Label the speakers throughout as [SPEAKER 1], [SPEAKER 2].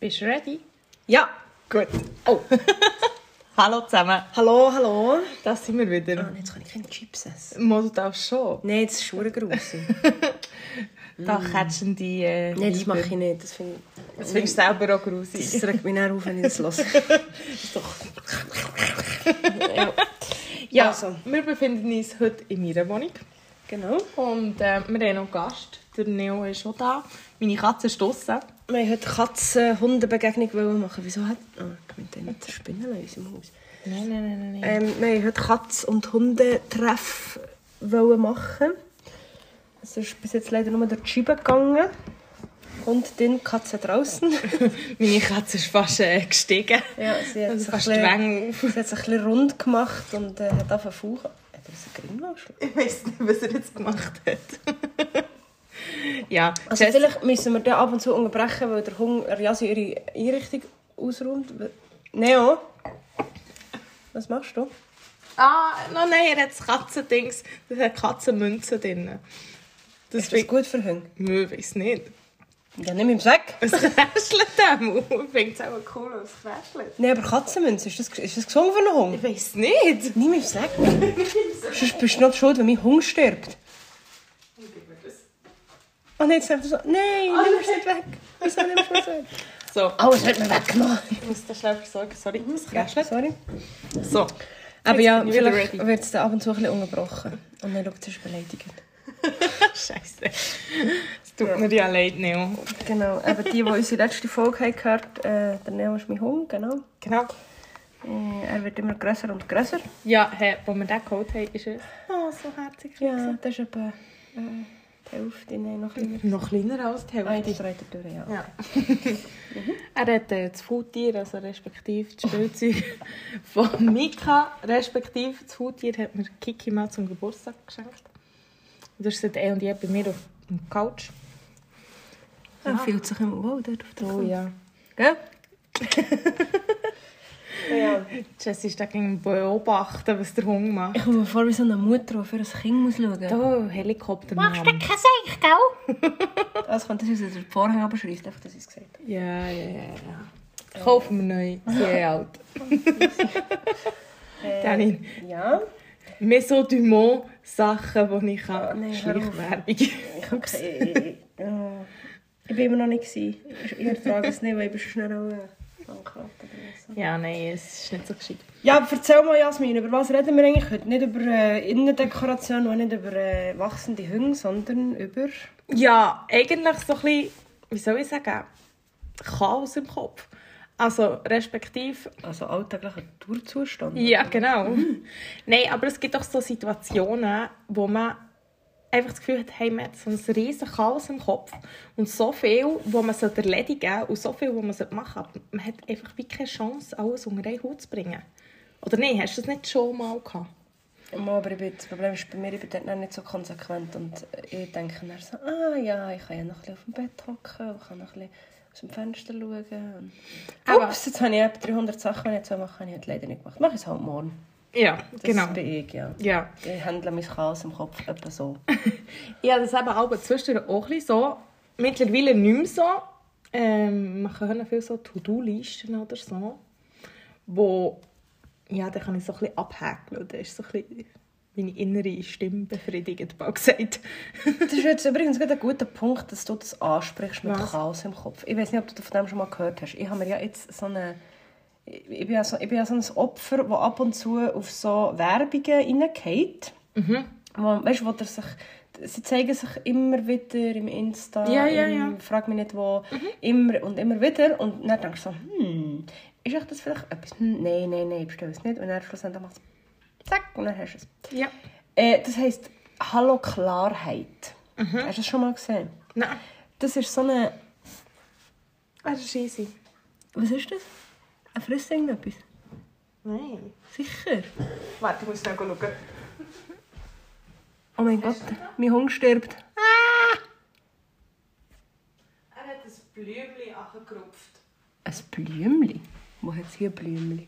[SPEAKER 1] Bist du ready?
[SPEAKER 2] Ja,
[SPEAKER 1] Gut. Oh.
[SPEAKER 2] hallo zusammen.
[SPEAKER 1] hallo, hallo.
[SPEAKER 2] Das sind wir
[SPEAKER 1] Ah,
[SPEAKER 2] wieder.
[SPEAKER 1] jetzt kann ich keine Chips essen.
[SPEAKER 2] Mo, du darfst schon.
[SPEAKER 1] Nein, das ist schon gross.
[SPEAKER 2] Da catchen die. Äh,
[SPEAKER 1] Nein, das
[SPEAKER 2] Weiber.
[SPEAKER 1] mache ich nicht. Das finde ich...
[SPEAKER 2] Das findest du selber auch grusig.
[SPEAKER 1] Das regt mich dann auf, wenn ich das höre. ja.
[SPEAKER 2] Ja,
[SPEAKER 1] Also.
[SPEAKER 2] wir befinden uns heute in meiner Wohnung.
[SPEAKER 1] Genau.
[SPEAKER 2] Und äh, wir haben noch einen Gast. Der Neo ist schon da. Meine Katze ist draussen.
[SPEAKER 1] Wir wollten heute Katzen-Hunde-Begegnung wollen machen. Wieso hat... Oh, ich meinte nicht Spinnen in unserem Haus.
[SPEAKER 2] Nein, nein, nein, nein. nein.
[SPEAKER 1] Ähm, wir wollten heute Katz- und Hundetreff wollen machen. Es ist bis jetzt leider nur der Schiebe gegangen. Und den Katze draußen.
[SPEAKER 2] Äh, Meine Katze ist fast äh, gestiegen.
[SPEAKER 1] Ja, sie hat
[SPEAKER 2] Also
[SPEAKER 1] sich
[SPEAKER 2] fast die
[SPEAKER 1] ein
[SPEAKER 2] Wänge auf.
[SPEAKER 1] bisschen, sie hat sich ein bisschen rund gemacht und äh, hat angefangen zu fauchen. Hat er einen Grimmelschlag?
[SPEAKER 2] Ich weiß nicht, was er jetzt gemacht hat. ja,
[SPEAKER 1] Also
[SPEAKER 2] Jess-
[SPEAKER 1] vielleicht müssen wir den ab und zu unterbrechen, weil der Hund der Jasi ihre Einrichtung ausräumt. Neo? Was machst du?
[SPEAKER 2] Ah, no, nein, er hat das Katzendings. Das hat Katzenmünzen drin. Das
[SPEAKER 1] Ist das
[SPEAKER 2] fängt.
[SPEAKER 1] gut für Hunde?
[SPEAKER 2] Nö, weiß nicht.
[SPEAKER 1] Ja, nimm im Sack.
[SPEAKER 2] Es kräschelt dem. Fängt es auch cool an, es kräschelt.
[SPEAKER 1] Nein, aber Katzenmünze, ist das, ist das gesungen für einen Hund?
[SPEAKER 2] Ich weiß nicht.
[SPEAKER 1] Nimm im Sack. Sonst bist du noch schuld, wenn mein Hund stirbt. Oh nein, jetzt sagt er so, nein, nimm es nicht weg. Also, Wieso nimmst du es weg?
[SPEAKER 2] So,
[SPEAKER 1] Oh, es wird mir weggenommen.
[SPEAKER 2] ich muss das schnell versorgen. Sorry, es
[SPEAKER 1] Ja,
[SPEAKER 2] kräschelt.
[SPEAKER 1] sorry.
[SPEAKER 2] So.
[SPEAKER 1] Aber
[SPEAKER 2] Jetzt
[SPEAKER 1] ja,
[SPEAKER 2] bin ich wieder
[SPEAKER 1] vielleicht
[SPEAKER 2] ready.
[SPEAKER 1] wird es ab und zu ein bisschen unterbrochen. Und dann schaut es beleidigend.
[SPEAKER 2] Scheiße. Es tut mir ja leid, Neo.
[SPEAKER 1] Genau, eben die, die unsere letzte Folge haben gehört äh, der Neo ist mein Hund, genau.
[SPEAKER 2] Genau.
[SPEAKER 1] Äh, er wird immer grösser und grösser.
[SPEAKER 2] Ja, hey, als wir den geholt haben, ist er oh, so herzig.
[SPEAKER 1] Ja, das ist etwa äh, die Hälfte, nein, noch ein bisschen.
[SPEAKER 2] Noch kleiner als die
[SPEAKER 1] Ah, die
[SPEAKER 2] Hälfte.
[SPEAKER 1] dreht er durch, ja.
[SPEAKER 2] Ja. er hat äh, das Foodtier, also respektive das Spielzeug von Mika, respektive das Foodtier hat mir Kiki mal zum Geburtstag geschenkt. Und Das ist seit eh und je bei mir auf der Couch.
[SPEAKER 1] Er fühlt sich immer wow dort auf der
[SPEAKER 2] Oh ja.
[SPEAKER 1] Gell? ja.
[SPEAKER 2] Jess ist da gegen beobachten, was der Hund macht.
[SPEAKER 1] Ich komme mir vor wie so eine Mutter, die für ein Kind muss schauen muss.
[SPEAKER 2] Oh, Helikopter.
[SPEAKER 1] kein Seich, gell? Das Also, könnte sie aus der Vorhang abschreiben, einfach, dass ich es gesagt habe.
[SPEAKER 2] Ja, ja, ja. ja. Kauf mir neu, sehr alt. Danny,
[SPEAKER 1] Äh, Ja.
[SPEAKER 2] Meso Dumont Sachen, die ich
[SPEAKER 1] Oh,
[SPEAKER 2] kann.
[SPEAKER 1] nein,
[SPEAKER 2] Schleichwerbung.
[SPEAKER 1] Okay. ja. äh, Ich bin immer noch nicht. Gewesen. Ich ertrage es nicht, weil ich bin schnell auch bankrott.
[SPEAKER 2] Ja, nein, es ist nicht so gescheit.
[SPEAKER 1] Ja, aber erzähl mal, Jasmin, über was reden wir eigentlich heute? Nicht über äh, Innendekoration und nicht über äh, wachsende Hunde, sondern über...
[SPEAKER 2] Ja, eigentlich so ein bisschen, wie soll ich sagen, Chaos im Kopf. Also, respektive,
[SPEAKER 1] Also alltäglicher Durzustand.
[SPEAKER 2] ja, genau. Nein, aber es gibt auch so Situationen, wo man einfach das Gefühl hat, hey, man hat so ein riesen Chaos im Kopf und so viel, wo man sollte erledigen und so viel, wo man sollte machen sollte. Aber man hat einfach wie keine Chance, alles unter einen Hut zu bringen. Oder nein, hast du das nicht schon mal gehabt?
[SPEAKER 1] Mal, Aber ich bin, das Problem ist bei mir, ich bin dort dann nicht so konsequent und ich denke dann so, ah ja, ich kann ja noch ein bisschen auf dem Bett hocken und kann noch ein bisschen aus dem Fenster schauen. Und,
[SPEAKER 2] Aber-
[SPEAKER 1] Ups, jetzt habe ich etwa 300 Sachen, die ich jetzt so machen, habe ich heute leider nicht gemacht. Mache ich es halt morgen.
[SPEAKER 2] Ja,
[SPEAKER 1] Das
[SPEAKER 2] genau.
[SPEAKER 1] bin ich, ja.
[SPEAKER 2] Ja.
[SPEAKER 1] Ich handle mein Chaos im Kopf etwa so.
[SPEAKER 2] Ja, das eben auch zwischendurch auch ein bisschen so. Mittlerweile nicht mehr so. Ähm, man kann viel so To-Do-Listen oder so, wo ja, da kann ich so ein bisschen abhäkeln. Da ist so ein bisschen meine innere Stimme befriedigt, bald gesagt.
[SPEAKER 1] Das ist jetzt übrigens gerade ein guter Punkt, dass du das ansprichst mit
[SPEAKER 2] Was?
[SPEAKER 1] Chaos im Kopf. Ich weiß nicht, ob du von dem schon mal gehört hast. Ich habe mir ja jetzt so eine... Ich ich bin ja so, ich bin ja so ein Opfer, das ab und zu auf so Werbungen reingeht.
[SPEAKER 2] Mhm.
[SPEAKER 1] Wo, weißt du, wo der sich... Sie zeigen sich immer wieder im Insta,
[SPEAKER 2] Ja, ja,
[SPEAKER 1] im,
[SPEAKER 2] ja. Mhm.
[SPEAKER 1] frag mich nicht wo, immer und immer wieder. Und dann denkst du so, hm, ist echt das vielleicht etwas? Hm, nein, nein, nein, bestell es nicht. Und dann schlussendlich machst du zack und dann hast du es.
[SPEAKER 2] Ja.
[SPEAKER 1] Äh, das heisst Hallo Klarheit. Hast du das schon mal gesehen?
[SPEAKER 2] Nein,
[SPEAKER 1] Das ist so eine.
[SPEAKER 2] Ah, das ist easy.
[SPEAKER 1] Was ist das? Ein frisst irgendetwas?
[SPEAKER 2] Nein.
[SPEAKER 1] Sicher.
[SPEAKER 2] Warte, ich muss schnell schauen.
[SPEAKER 1] Oh mein Gott, mein Hund stirbt.
[SPEAKER 2] Er hat ein Blümchen angerupft.
[SPEAKER 1] Ein Blümli? Wo hat sie ein Blümli?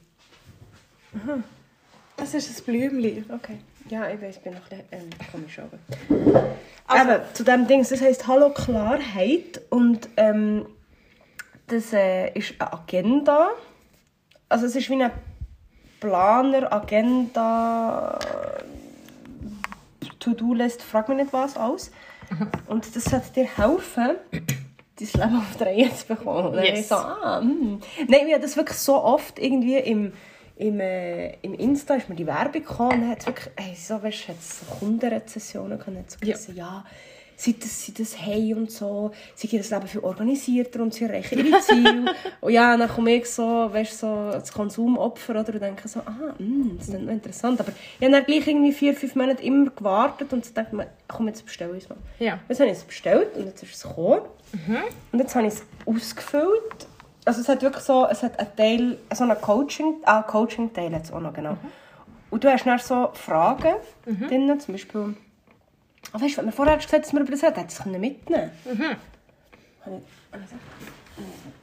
[SPEAKER 2] Es ist ein Blümchen.
[SPEAKER 1] Okay. Ja, ich weiß, ich bin noch ein bisschen ähm, komisch. Aber.
[SPEAKER 2] Also-
[SPEAKER 1] Eben, zu dem Ding, das heisst Hallo Klarheit. Und ähm, Das äh, ist eine Agenda. Also es ist wie ein Planer, Agenda, To-Do-List, frag mich nicht was aus.
[SPEAKER 2] Mhm.
[SPEAKER 1] Und das sollte dir helfen, dein Leben auf die Reihe zu bekommen. Und dann
[SPEAKER 2] Yes.
[SPEAKER 1] ich so, ah, hm. Nein, wir haben das wirklich so oft irgendwie im, im, äh, im Insta ist mir die Werbung gekommen und hat wirklich, hey, so, weißt, hat so Kundenrezessionen gehabt, hat so
[SPEAKER 2] Ja.
[SPEAKER 1] gesagt, ja, sie das, sie das hey und so, sie gehen das Leben viel organisierter und sie erreichen ihre Ziele. und ja, dann komme ich so, weißt, so als Konsumopfer oder, und denke so, ah, hm, das ist noch interessant. Aber ich habe dann gleich irgendwie vier, fünf Monate immer gewartet und so dachte mir, komm, jetzt bestelle ich es mal.
[SPEAKER 2] Ja.
[SPEAKER 1] Jetzt habe ich es bestellt und jetzt ist es gekommen. Und jetzt habe ich es ausgefüllt. Also es hat wirklich so, es hat einen Teil, so einen Coaching, ah, Coaching-Teil hat es auch noch, genau.
[SPEAKER 2] Mhm.
[SPEAKER 1] Und du hast dann so Fragen drin, zum Beispiel, oh, weißt du, wenn man vorher gesagt hat, dass wir über das reden, hätte ich es können mitnehmen
[SPEAKER 2] Mhm.
[SPEAKER 1] können.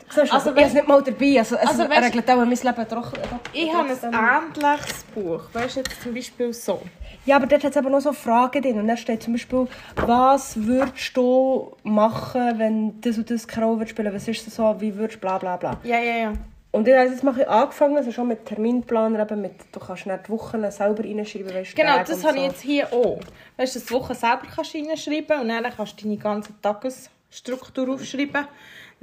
[SPEAKER 1] Also,
[SPEAKER 2] Also
[SPEAKER 1] also, ich habe es nicht mal dabei. Also, es
[SPEAKER 2] also,
[SPEAKER 1] also,
[SPEAKER 2] weißt-
[SPEAKER 1] regelt auch mein Leben doch. doch-
[SPEAKER 2] Ich habe ein
[SPEAKER 1] trotzdem.
[SPEAKER 2] ähnliches Buch. Weißt du, jetzt zum Beispiel so.
[SPEAKER 1] Ja, aber dort hat es aber noch so Fragen drin. Und da steht zum Beispiel, was würdest du machen, wenn das und das keine Rolle würde spielen? Was ist das so? Wie würdest du bla bla bla?
[SPEAKER 2] Ja, ja, ja.
[SPEAKER 1] Und ich habe jetzt mache ich angefangen, also schon mit Terminplaner, eben mit, du kannst nicht die Wochen selber reinschreiben, weißt du,
[SPEAKER 2] Genau,
[SPEAKER 1] Tage
[SPEAKER 2] das
[SPEAKER 1] und
[SPEAKER 2] habe
[SPEAKER 1] so.
[SPEAKER 2] ich jetzt hier auch. Weißt du, dass du die Woche selber kannst reinschreiben und dann kannst du deine ganze Tagesstruktur aufschreiben.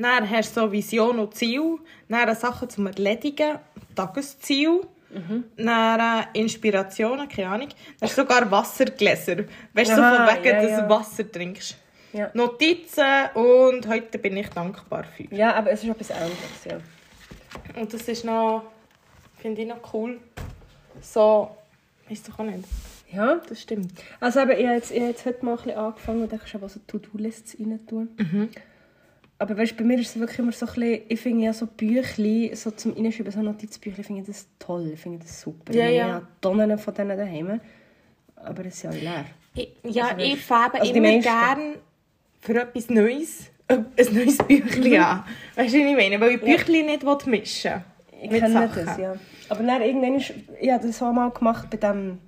[SPEAKER 2] Dann hast du so Vision und Ziel. Dann Sachen zum Erledigen, Tagesziel.
[SPEAKER 1] Mhm.
[SPEAKER 2] Dann äh, Inspirationen, keine Ahnung. Dann hast du sogar Wassergläser. Weißt du, so von
[SPEAKER 1] Aha,
[SPEAKER 2] wegen,
[SPEAKER 1] ja,
[SPEAKER 2] dass
[SPEAKER 1] ja.
[SPEAKER 2] du Wasser trinkst.
[SPEAKER 1] Ja.
[SPEAKER 2] Notizen und heute bin ich dankbar für.
[SPEAKER 1] Ja, aber es ist etwas anderes, ja.
[SPEAKER 2] Und das ist noch, finde ich noch cool. So, ist doch auch nicht.
[SPEAKER 1] Ja,
[SPEAKER 2] Das stimmt.
[SPEAKER 1] also eben, ich habe jetzt, ich habe jetzt heute mal ein bisschen angefangen und da kannst du auch so To-Do-Lists rein tun.
[SPEAKER 2] Mhm.
[SPEAKER 1] Aber weißt, bei mir ist es wirklich immer so ein bisschen, ich finde ja so Büchlein, so zum Reinschreiben, so Notizbüchlein, finde ich das toll, finde ich das super.
[SPEAKER 2] Ja,
[SPEAKER 1] ich
[SPEAKER 2] ja.
[SPEAKER 1] habe Tonnen von denen daheim, aber es ist ja leer.
[SPEAKER 2] Ich, ja,
[SPEAKER 1] Also,
[SPEAKER 2] ich fäbe
[SPEAKER 1] also die
[SPEAKER 2] immer
[SPEAKER 1] meisten.
[SPEAKER 2] gerne für etwas Neues äh, ein neues Büchlein an. Weißt du, was ich meine? Weil ich Büchlein nicht will mischen
[SPEAKER 1] Ich
[SPEAKER 2] mit
[SPEAKER 1] kenne
[SPEAKER 2] Sachen.
[SPEAKER 1] das, ja. Aber dann irgendwann, ist, ich habe das auch mal gemacht bei dem,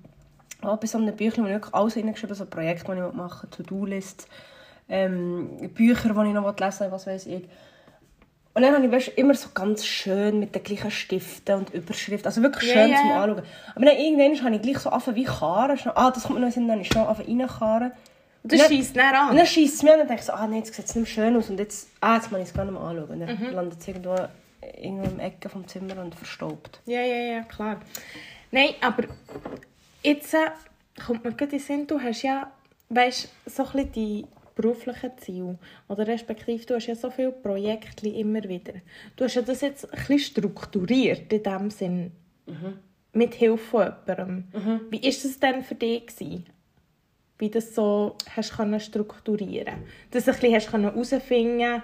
[SPEAKER 1] ah, bei so einem Büchlein, wo ich wirklich alles reingeschrieben habe, so Projekte, die ich machen will, To-Do-List, ähm, Bücher, die ich noch lesen will, was weiß ich. Und dann habe ich weißt, du, immer so ganz schön mit den gleichen Stiften und Überschriften, also wirklich
[SPEAKER 2] Ja,
[SPEAKER 1] schön
[SPEAKER 2] ja,
[SPEAKER 1] zum
[SPEAKER 2] ja.
[SPEAKER 1] Anschauen. Aber dann irgendwann habe ich gleich so angefangen wie Karren, schnell- ah, das kommt mir noch in den Sinn, dann habe ich schnell angefangen reinkarren.
[SPEAKER 2] Und Das
[SPEAKER 1] Dann-
[SPEAKER 2] schießt nicht
[SPEAKER 1] und
[SPEAKER 2] an.
[SPEAKER 1] dann schießt es mir an und denke ich so, ah, nein, jetzt sieht es nicht mehr schön aus. Und jetzt, ah, jetzt muss ich es gar nicht mehr anschauen. Und dann landet es irgendwo, irgendwo im Ecke vom Zimmer und verstaubt.
[SPEAKER 2] Ja, ja, ja, klar. Nein, aber jetzt äh, kommt mir gerade in den Sinn, du hast ja, weißt so ein bisschen die beruflichen Ziele. Oder respektive, du hast ja so viele Projekte immer wieder. Du hast ja das jetzt ein bisschen strukturiert in dem Sinn.
[SPEAKER 1] Mhm.
[SPEAKER 2] Mit Hilfe von jemandem. Wie war das denn für dich? Gewesen? Wie du das so hast können strukturieren Dass du ein bisschen hast können herausfinden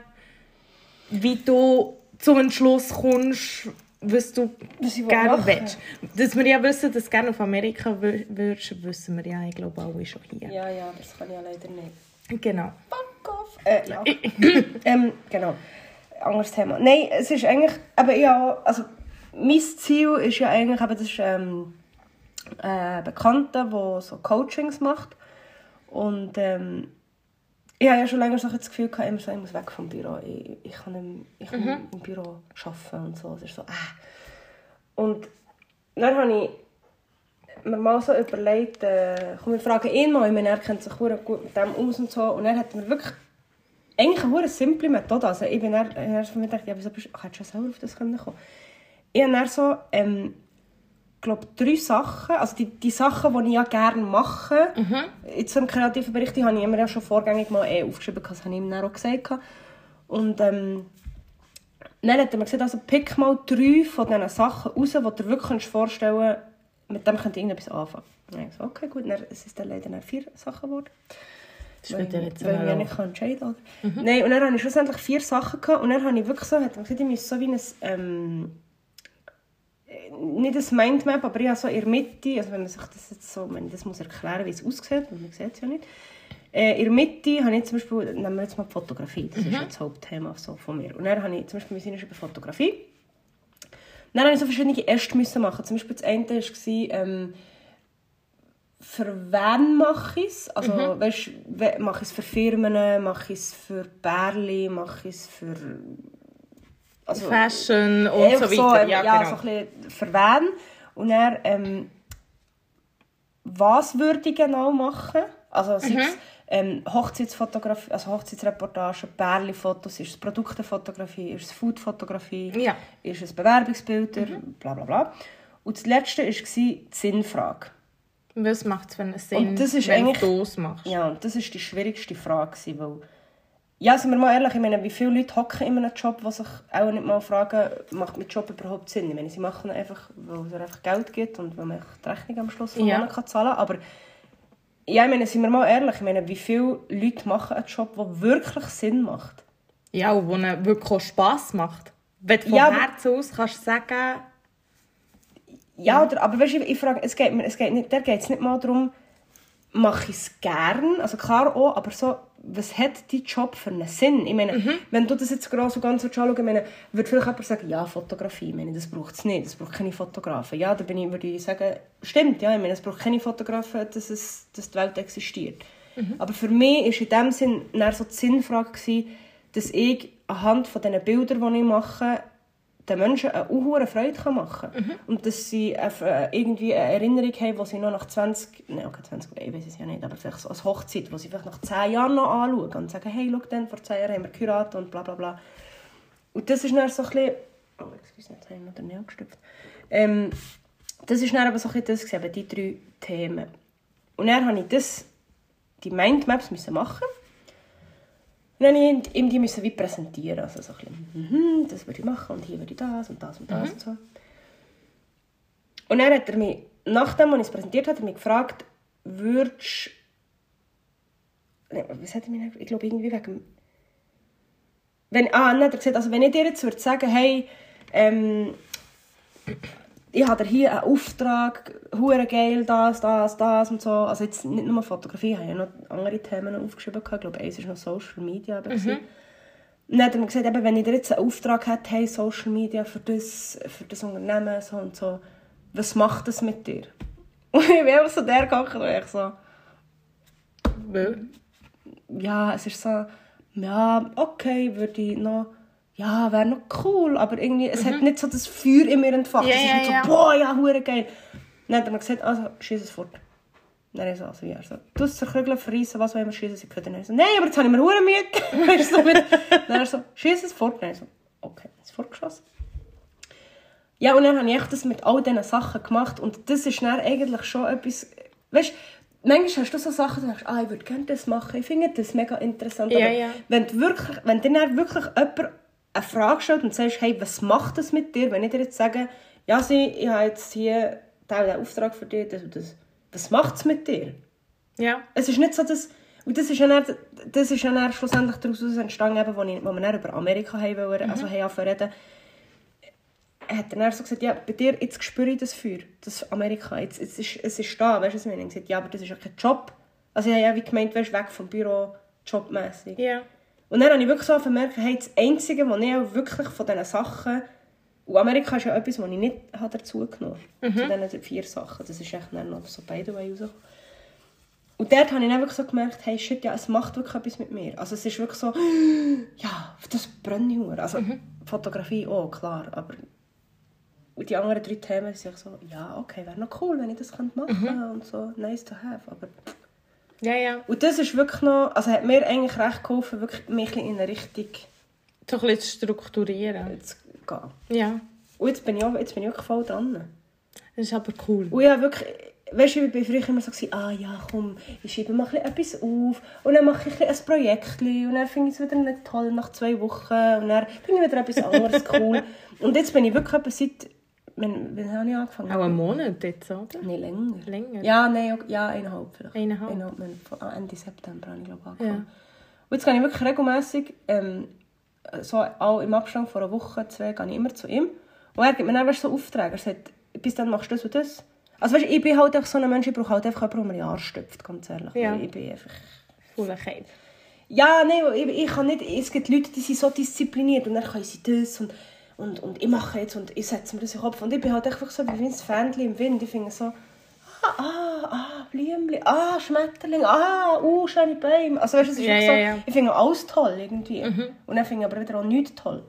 [SPEAKER 2] wie du zum Entschluss kommst, was du
[SPEAKER 1] Was ich
[SPEAKER 2] gerne
[SPEAKER 1] machen will.
[SPEAKER 2] willst. Äh. Dass wir ja wissen, dass du gerne auf Amerika wür- würdest, wissen wir ja, ich glaube, alle schon hier.
[SPEAKER 1] Ja, ja, aber das kann ich ja leider nicht.
[SPEAKER 2] Genau.
[SPEAKER 1] Fuck off! Äh, ja. ähm, genau. Anderes Thema. Nein, es ist eigentlich, aber ja, also mein Ziel ist ja eigentlich, aber das ist ähm, äh, Bekannter, der so Coachings macht. Und ähm, ich habe ja schon länger so das Gefühl gehabt, immer so, ich muss weg vom Büro. Ich, ich kann, nicht, ich kann nicht im Büro arbeiten und so. Es ist so, äh. Und dann habe ich mir mal so überlegt, äh, komm, wir fragen ihn mal, ich meine, er kennt sich verdammt gut mit dem aus und so. Und er hat mir wirklich eigentlich eine verdammt simple Methode. Also ich bin dann, ich habe mir gedacht, ja, wieso bist du, hättest du schon selber auf das können kommen? Ich habe dann so, ähm, glaube drei Sachen, also die, die Sachen, die ich ja gerne mache, in so einem kreativen Bereich, die habe ich immer ja schon vorgängig mal eh aufgeschrieben, das habe ich ihm dann auch gesagt. gehabt. Und ähm, dann hat er mir gesagt, also pick mal drei von diesen Sachen raus, die du dir wirklich kannst vorstellen kannst, mit dem könnte irgendetwas anfangen. Dann habe ich gesagt, okay, gut, dann, es ist dann leider dann vier Sachen geworden.
[SPEAKER 2] Das wird ja jetzt Mhm.
[SPEAKER 1] Weil ich mich ja nicht kann entscheiden kann. oder? Nein, und dann hatte ich schlussendlich vier Sachen gehabt, und dann habe ich wirklich so, hat er gesagt, ich müsse so wie ein, ähm, äh, nicht ein Mindmap, aber ich habe so in der Mitte, also wenn man sich das jetzt so, wenn ich das muss erklären, wie es aussieht, und man sieht es ja nicht, äh, in der Mitte habe ich zum Beispiel, nehmen wir jetzt mal die Fotografie, das ist jetzt das Hauptthema so von mir, und dann habe ich zum Beispiel, wir sind über Fotografie, dann habe ich so verschiedene Äste müssen machen. Zum Beispiel das eine war, ähm, für wen mache ich es? Also, weißt, mache ich es für Firmen, mache ich es für Bärli, mache ich es für also,
[SPEAKER 2] Fashion und
[SPEAKER 1] einfach
[SPEAKER 2] so
[SPEAKER 1] so,
[SPEAKER 2] weiter.
[SPEAKER 1] ähm,
[SPEAKER 2] ja,
[SPEAKER 1] ja,
[SPEAKER 2] genau.
[SPEAKER 1] so ein bisschen für wen. Und dann, ähm, was würde ich genau machen? Also
[SPEAKER 2] Mhm.
[SPEAKER 1] sei es ähm, Hochzeitsfotografie, also Hochzeitsreportagen, Pärli-Fotos, ist es Produktefotografie, ist es Foodfotografie,
[SPEAKER 2] Ja. Mhm.
[SPEAKER 1] ist es Bewerbungsbilder, bla bla bla. Und das Letzte war die Sinnfrage.
[SPEAKER 2] Was macht es für einen Sinn,
[SPEAKER 1] Und das ist
[SPEAKER 2] wenn
[SPEAKER 1] eigentlich-
[SPEAKER 2] du es machst?
[SPEAKER 1] Ja, und das ist die schwierigste Frage, gewesen, weil... Ja, sind wir mal ehrlich, ich meine, wie viele Leute hocken in einem Job, die sich auch nicht mal fragen, macht mein Job überhaupt Sinn? Ich meine, sie machen ihn einfach, weil es ihnen einfach Geld gibt und weil man einfach die Rechnung am Schluss vom
[SPEAKER 2] Ja.
[SPEAKER 1] Monat kann zahlen kann. Aber ja, ich meine, sind wir mal ehrlich, ich meine, wie viele Leute machen einen Job, der wirklich Sinn macht?
[SPEAKER 2] Ja, und wo einem wirklich auch Spass macht. Wenn du vom
[SPEAKER 1] Ja, aber-
[SPEAKER 2] Herzen aus kannst sagen,
[SPEAKER 1] Ja, Oder, aber weißt du, ich, ich frage, es geht mir, es geht nicht, da geht es nicht mal darum, mache ich es gern, also klar auch, aber so, was hat dein Job für einen Sinn? Ich meine, wenn du das jetzt gerade so ganz anschaust, ich meine, würde vielleicht jemand sagen, ja, Fotografie, ich meine, das braucht es nicht, das braucht keine Fotografen. Ja, da bin ich, würde ich sagen, stimmt, ja, ich meine, es braucht keine Fotografen, dass, es, dass die Welt existiert. Aber für mich war in dem Sinn eher so die Sinnfrage, gewesen, dass ich anhand von diesen Bildern, die ich mache, den Menschen eine unhure Freude kann machen kann. Und dass sie eine, F- irgendwie eine Erinnerung haben, die sie noch nach 20, nein, okay, 20, ich weiß es ja nicht, aber vielleicht so als Hochzeit, die sie vielleicht nach 10 Jahren noch anschauen und sagen, hey, schau, dann, vor 10 Jahren haben wir geheiratet und bla bla bla. Und das ist dann so ein bisschen... Oh, excuse, jetzt habe ich noch den Nail gestüpft. Ähm, das ist dann aber so ein bisschen das, gewesen, eben die drei Themen. Und dann habe ich das, die Mindmaps müssen machen. Und dann musste ich ihm die müssen wie präsentieren. Also so ein bisschen, mhm, das würde ich machen und hier würde ich das und das und das und so. Und dann hat er mich, nachdem als ich es präsentiert habe, hat er mich gefragt, würdest Nein, was hat er mich Ich glaube, irgendwie wegen... dem- Wenn, ah, dann hat er gesagt, also wenn ich dir jetzt würde sagen, hey, ähm, ich habe dir hier einen Auftrag, hure geil, das, das, das und so. Also jetzt nicht nur Fotografie, ich habe ja noch andere Themen noch aufgeschrieben. gehabt. Ich glaube, eins war noch Social Media. eben gewesen. Und dann hat er mir gesagt, eben, wenn ich dir jetzt einen Auftrag hätte, hey, Social Media für das, für das Unternehmen so und so, was macht das mit dir? Und ich bin einfach so der gegangen und ich so...
[SPEAKER 2] weil,
[SPEAKER 1] ja, es ist so, ja, okay, würde ich noch, ja, wäre noch cool, aber irgendwie, es hat nicht so das Feuer in mir entfacht.
[SPEAKER 2] Mhm. Ja,
[SPEAKER 1] es ist
[SPEAKER 2] ja,
[SPEAKER 1] nicht so,
[SPEAKER 2] ja.
[SPEAKER 1] boah, ja, hure geil. Dann hat er mir gesagt, also, schieß es fort. Dann ist so, also, ja, so, du es zerkrügeln, verreissen, was auch immer, schieß es in die Köder. Dann so, nein, aber jetzt habe ich mir hure Mühe gegeben. Weißt du, so mit- Dann ist so, schieß es fort. Dann so, okay, es ist fortgeschossen. Ja, und dann habe ich echt das mit all diesen Sachen gemacht. Und das ist dann eigentlich schon etwas. Weißt du, manchmal hast du so Sachen, du denkst, ah, ich würde gerne das machen, ich finde das mega interessant.
[SPEAKER 2] Ja,
[SPEAKER 1] Aber
[SPEAKER 2] ja.
[SPEAKER 1] Wenn, du wirklich, wenn dir dann wirklich jemand eine Frage stellt und sagst, hey, was macht das mit dir, wenn ich dir jetzt sage, ja, sie, ich habe jetzt hier diesen und diesen Auftrag für dich, das und das. Was macht es mit dir?
[SPEAKER 2] ja.
[SPEAKER 1] Es ist nicht so, dass... Und das ist ja, dann, das ist ja dann schlussendlich daraus entstanden, eben, wo, ich, wo wir dann über Amerika haben wollen, also haben angefangen zu reden. Hat er dann so gesagt, ja, bei dir, jetzt spüre ich das Feuer, das Amerika, jetzt, jetzt ist, es ist da, weißt du, was ich meine? Ich gesagt, ja, aber das ist ja kein Job. Also ich habe ja wie gemeint, weißt, weg vom Büro, jobmässig.
[SPEAKER 2] ja.
[SPEAKER 1] Und dann habe ich wirklich so gemerkt, hey, das Einzige, was ich auch wirklich von diesen Sachen... Und Amerika ist ja etwas, was ich nicht habe dazu genommen habe, zu diesen vier Sachen. Das ist echt dann noch so by the way rausgekommen. Und dort habe ich dann wirklich so gemerkt, hey, shit, ja, es macht wirklich etwas mit mir. Also es ist wirklich so, ja, auf das brenne ich verdammt. Also Fotografie auch, klar, aber... Und die anderen drei Themen sind so, ja, okay, wäre noch cool, wenn ich das könnte machen könnte und so, nice to have, aber...
[SPEAKER 2] Ja, ja.
[SPEAKER 1] Und das ist wirklich noch, also hat mir eigentlich recht geholfen, wirklich mich ein bisschen in eine Richtung
[SPEAKER 2] So ein bisschen zu strukturieren.
[SPEAKER 1] zu gehen.
[SPEAKER 2] Ja.
[SPEAKER 1] Und jetzt bin ich, auch, jetzt bin ich wirklich voll dran.
[SPEAKER 2] Das ist aber cool.
[SPEAKER 1] Und ja, wirklich, weißt du, ich war früher immer so, gewesen, ah ja, komm, ich schreibe mal ein bisschen etwas auf und dann mache ich ein, bisschen ein Projekt und dann finde ich es wieder nicht toll nach zwei Wochen und dann finde ich wieder etwas anderes cool. Und jetzt bin ich wirklich etwa seit, wann, wann habe ich angefangen?
[SPEAKER 2] Auch einen Monat jetzt, oder?
[SPEAKER 1] Nein, länger.
[SPEAKER 2] Länger.
[SPEAKER 1] Ja, nein, ok- ja, eineinhalb vielleicht.
[SPEAKER 2] Eineinhalb.
[SPEAKER 1] eineinhalb Monate. Von- ah, Ende September habe ich glaube ich
[SPEAKER 2] Ja.
[SPEAKER 1] angefangen. Und jetzt gehe ich wirklich regelmässig, ähm, so auch im Abstand von einer Woche, zwei, gehe ich immer zu ihm. Und er gibt mir dann weißt, du, so Aufträge. Er sagt, bis dann machst du das und das. Also weißt, du, ich bin halt einfach so ein Mensch, ich brauche halt einfach jemanden, der mir Jahr stöpft, ganz ehrlich.
[SPEAKER 2] Ja.
[SPEAKER 1] Ich bin einfach...
[SPEAKER 2] Cooler Kind.
[SPEAKER 1] Ja, nein, ich, ich kann nicht... Es gibt Leute, die sind so diszipliniert und dann können sie das und... Und, und ich mache jetzt und ich setze mir das in den Kopf. Und ich bin halt einfach so wie ein Fähnchen im Wind. Ich finde so... Ah, ah, ah, Blümchen, ah, Schmetterling, ah, uh, schöne Bäume. Also weißt du, es ist
[SPEAKER 2] Ja, ja,
[SPEAKER 1] wirklich so,
[SPEAKER 2] ja.
[SPEAKER 1] Mhm. ich finde alles toll irgendwie. Und dann finde ich aber wieder auch nichts toll.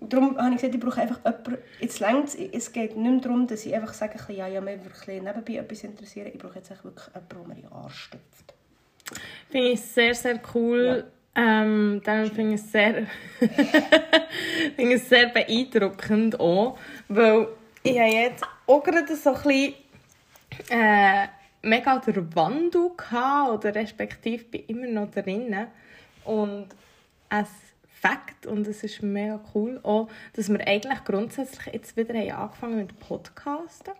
[SPEAKER 1] Darum habe ich gesagt, ich brauche einfach jemanden. Jetzt längt es. geht nicht mehr darum, dass ich einfach sage, ein bisschen, ja, ja, mich wirklich nebenbei etwas interessieren. Ich brauche jetzt echt wirklich jemanden, der mir in den Arsch stüpft.
[SPEAKER 2] Finde ich sehr, sehr cool. Ähm, dann finde ich es sehr, finde ich es sehr beeindruckend auch, weil ich habe jetzt auch gerade so ein bisschen, äh, mega den Wandel gehabt, oder respektive bin immer noch drinnen. Und es Fakt, und es ist mega cool auch, dass wir eigentlich grundsätzlich jetzt wieder haben angefangen mit Podcasten.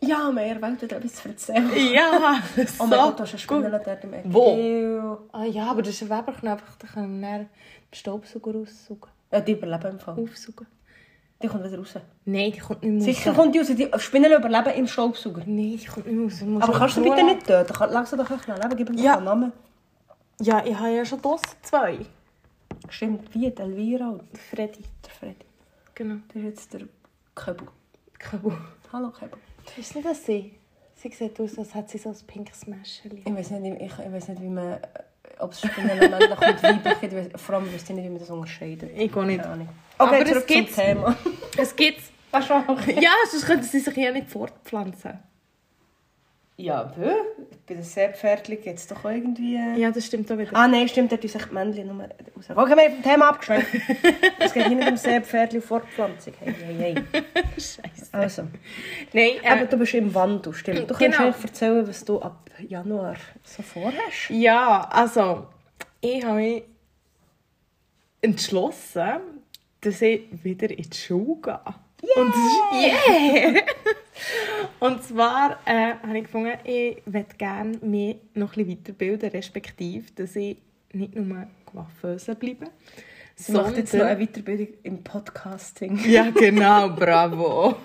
[SPEAKER 1] Ja, mehr wollte wieder etwas erzählen.
[SPEAKER 2] Ja,
[SPEAKER 1] Oh mein Gott, da ist eine Spindel dort im Eck.
[SPEAKER 2] Wo?
[SPEAKER 1] Ew.
[SPEAKER 2] Ah ja, aber das ist ein Weberknopf, da können wir dann den Staubsauger aussaugen,
[SPEAKER 1] Ja, Äh, die überleben im Fall.
[SPEAKER 2] aufsaugen.
[SPEAKER 1] Die kommt wieder raus.
[SPEAKER 2] Nein, die kommt nicht mehr
[SPEAKER 1] Sicher
[SPEAKER 2] raus.
[SPEAKER 1] kommt die raus. Die Spinnen überleben im Staubsauger.
[SPEAKER 2] Nein, die kommt nicht mehr raus. Muss
[SPEAKER 1] Aber
[SPEAKER 2] man
[SPEAKER 1] kannst du
[SPEAKER 2] Ruhe
[SPEAKER 1] bitte
[SPEAKER 2] lassen.
[SPEAKER 1] nicht töten? Kann- Lass sie doch ein bisschen leben. Gib mir
[SPEAKER 2] Ja.
[SPEAKER 1] ja. einen Namen.
[SPEAKER 2] Ja, ich habe ja schon draussen zwei.
[SPEAKER 1] Stimmt, wie die Elvira und
[SPEAKER 2] Der Freddy.
[SPEAKER 1] der Freddy.
[SPEAKER 2] Genau.
[SPEAKER 1] Das ist jetzt der Köbel.
[SPEAKER 2] Kabul.
[SPEAKER 1] Hallo Köbel.
[SPEAKER 2] Ist nicht das sie? Sie sieht aus, als hätte sie so ein pinkes Mäschchen.
[SPEAKER 1] Ich weiß nicht, ich, ich weiss nicht wie man... äh, Ob es Spinnen männlich und weiblich gibt. Ich weiss- Vor allem wüsste ich nicht, wie man das unterscheidet.
[SPEAKER 2] Ich gehe nicht.
[SPEAKER 1] Keine Ahnung.
[SPEAKER 2] Aber
[SPEAKER 1] Okay,
[SPEAKER 2] es
[SPEAKER 1] zurück zum
[SPEAKER 2] gibt's.
[SPEAKER 1] Thema. Ah,
[SPEAKER 2] Es gibt...
[SPEAKER 1] Hast du auch
[SPEAKER 2] Ja, sonst könnten sie sich ja nicht fortpflanzen.
[SPEAKER 1] Ja, wö. Bei den Seepferdchen gibt es doch auch irgendwie...
[SPEAKER 2] Ja, das stimmt auch wieder.
[SPEAKER 1] Ah nein, stimmt, dort ist echt die Männchen nur raus. Okay, wir haben vom Thema abgeschwenkt. es geht hier nicht um Seepferdchen und Fortpflanzung. Hey, hey, hey.
[SPEAKER 2] Scheiße.
[SPEAKER 1] Also,
[SPEAKER 2] Nein,
[SPEAKER 1] aber
[SPEAKER 2] äh,
[SPEAKER 1] du bist im Wandel, stimmt. Du
[SPEAKER 2] Genau.
[SPEAKER 1] kannst mir erzählen, was du ab Januar so vorhast.
[SPEAKER 2] ja, also, ich habe mich entschlossen, dass ich wieder in die Schule gehe. Und, das ist, yeah! Und zwar äh, habe ich gefunden, ich möchte gerne mich noch ein bisschen weiterbilden, respektive, dass ich nicht nur Coiffeuse bleibe,
[SPEAKER 1] Sie macht jetzt noch eine Weiterbildung im Podcasting.
[SPEAKER 2] Ja, genau, bravo.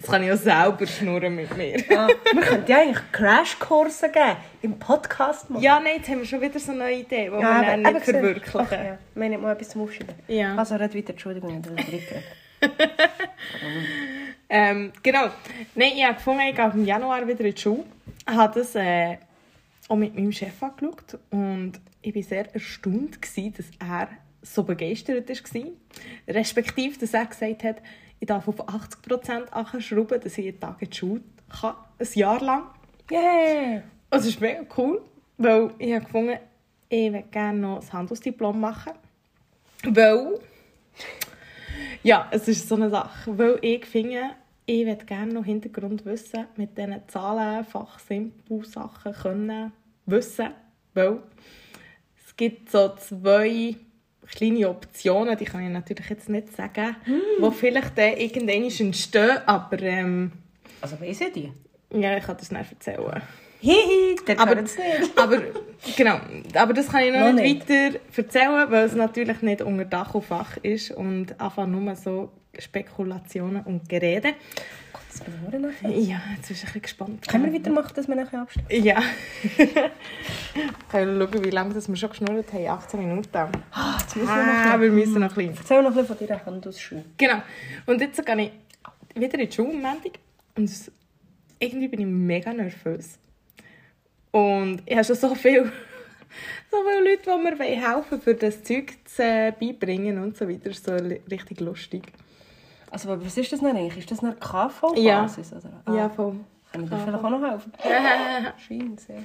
[SPEAKER 2] Das kann ich auch selber schnurren mit mir.
[SPEAKER 1] Ah, wir könnten ja eigentlich Crashkurse geben im Podcast machen.
[SPEAKER 2] Ja, nein, jetzt haben wir schon wieder so eine neue Idee, die wir dann
[SPEAKER 1] eben-
[SPEAKER 2] nicht
[SPEAKER 1] eben, siehst du.
[SPEAKER 2] verwirklichen.
[SPEAKER 1] Ach, ja. Wir haben nicht mal etwas zum Aufschreiben.
[SPEAKER 2] Ja.
[SPEAKER 1] Also, red weiter, Entschuldigung, ich habe das weitergeredet.
[SPEAKER 2] Ähm, genau. Nein, ich habe gefunden, ich gehe im Januar wieder in die Schule. Ich habe das äh, auch mit meinem Chef angeschaut und ich war sehr erstaunt, gewesen, dass er so begeistert war. Respektive, dass er gesagt hat, ich darf auf 80% anschrauben, dass ich jeden Tag in die Schule kann, ein Jahr lang.
[SPEAKER 1] Yeah!
[SPEAKER 2] Es ist mega cool, weil ich habe gefunden, ich würde gerne noch ein Handelsdiplom machen. Weil, ja, es ist so eine Sache, weil ich finde, ich würde gerne noch Hintergrundwissen mit diesen Zahlen, Fachsimpel, Sachen können wissen, weil es gibt so zwei kleine Optionen, die kann ich natürlich jetzt nicht sagen, die vielleicht dann irgendwann entstehen, aber ähm,
[SPEAKER 1] Also, weiss ich die?
[SPEAKER 2] ja, ich kann das nicht erzählen.
[SPEAKER 1] Hihi, der
[SPEAKER 2] Aber-
[SPEAKER 1] hört es nicht.
[SPEAKER 2] aber, genau, aber das kann ich noch,
[SPEAKER 1] Noch
[SPEAKER 2] nicht weiter erzählen, weil es natürlich nicht unter Dach und Fach ist und einfach nur so Spekulationen und Gerede.
[SPEAKER 1] Das bin ich nur nachher.
[SPEAKER 2] Ja, jetzt bist du ein bisschen gespannt.
[SPEAKER 1] Können wir weitermachen, dass wir nachher abstimmen?
[SPEAKER 2] Ja. Können wir schauen, wie lange das wir schon geschnurrt haben. 18 Minuten.
[SPEAKER 1] Ah, jetzt müssen wir noch
[SPEAKER 2] Ah,
[SPEAKER 1] ein bisschen.
[SPEAKER 2] wir müssen noch ein bisschen.
[SPEAKER 1] Erzähl noch ein bisschen von deiner Handausschuhe.
[SPEAKER 2] Genau. Und jetzt gehe ich wieder in die Schule am Montag. Und es- irgendwie bin ich mega nervös. Und ich habe schon so viel so viele Leute, die mir helfen wollen, für das Zeug zu äh, beibringen und so weiter. Ist so li- richtig lustig.
[SPEAKER 1] Also, aber was ist das denn eigentlich? Ist das eine KV-Basis?
[SPEAKER 2] Ja.
[SPEAKER 1] Oder? Ah,
[SPEAKER 2] Ja, voll.
[SPEAKER 1] Kann ich dir vielleicht auch noch helfen? Scheint sehr.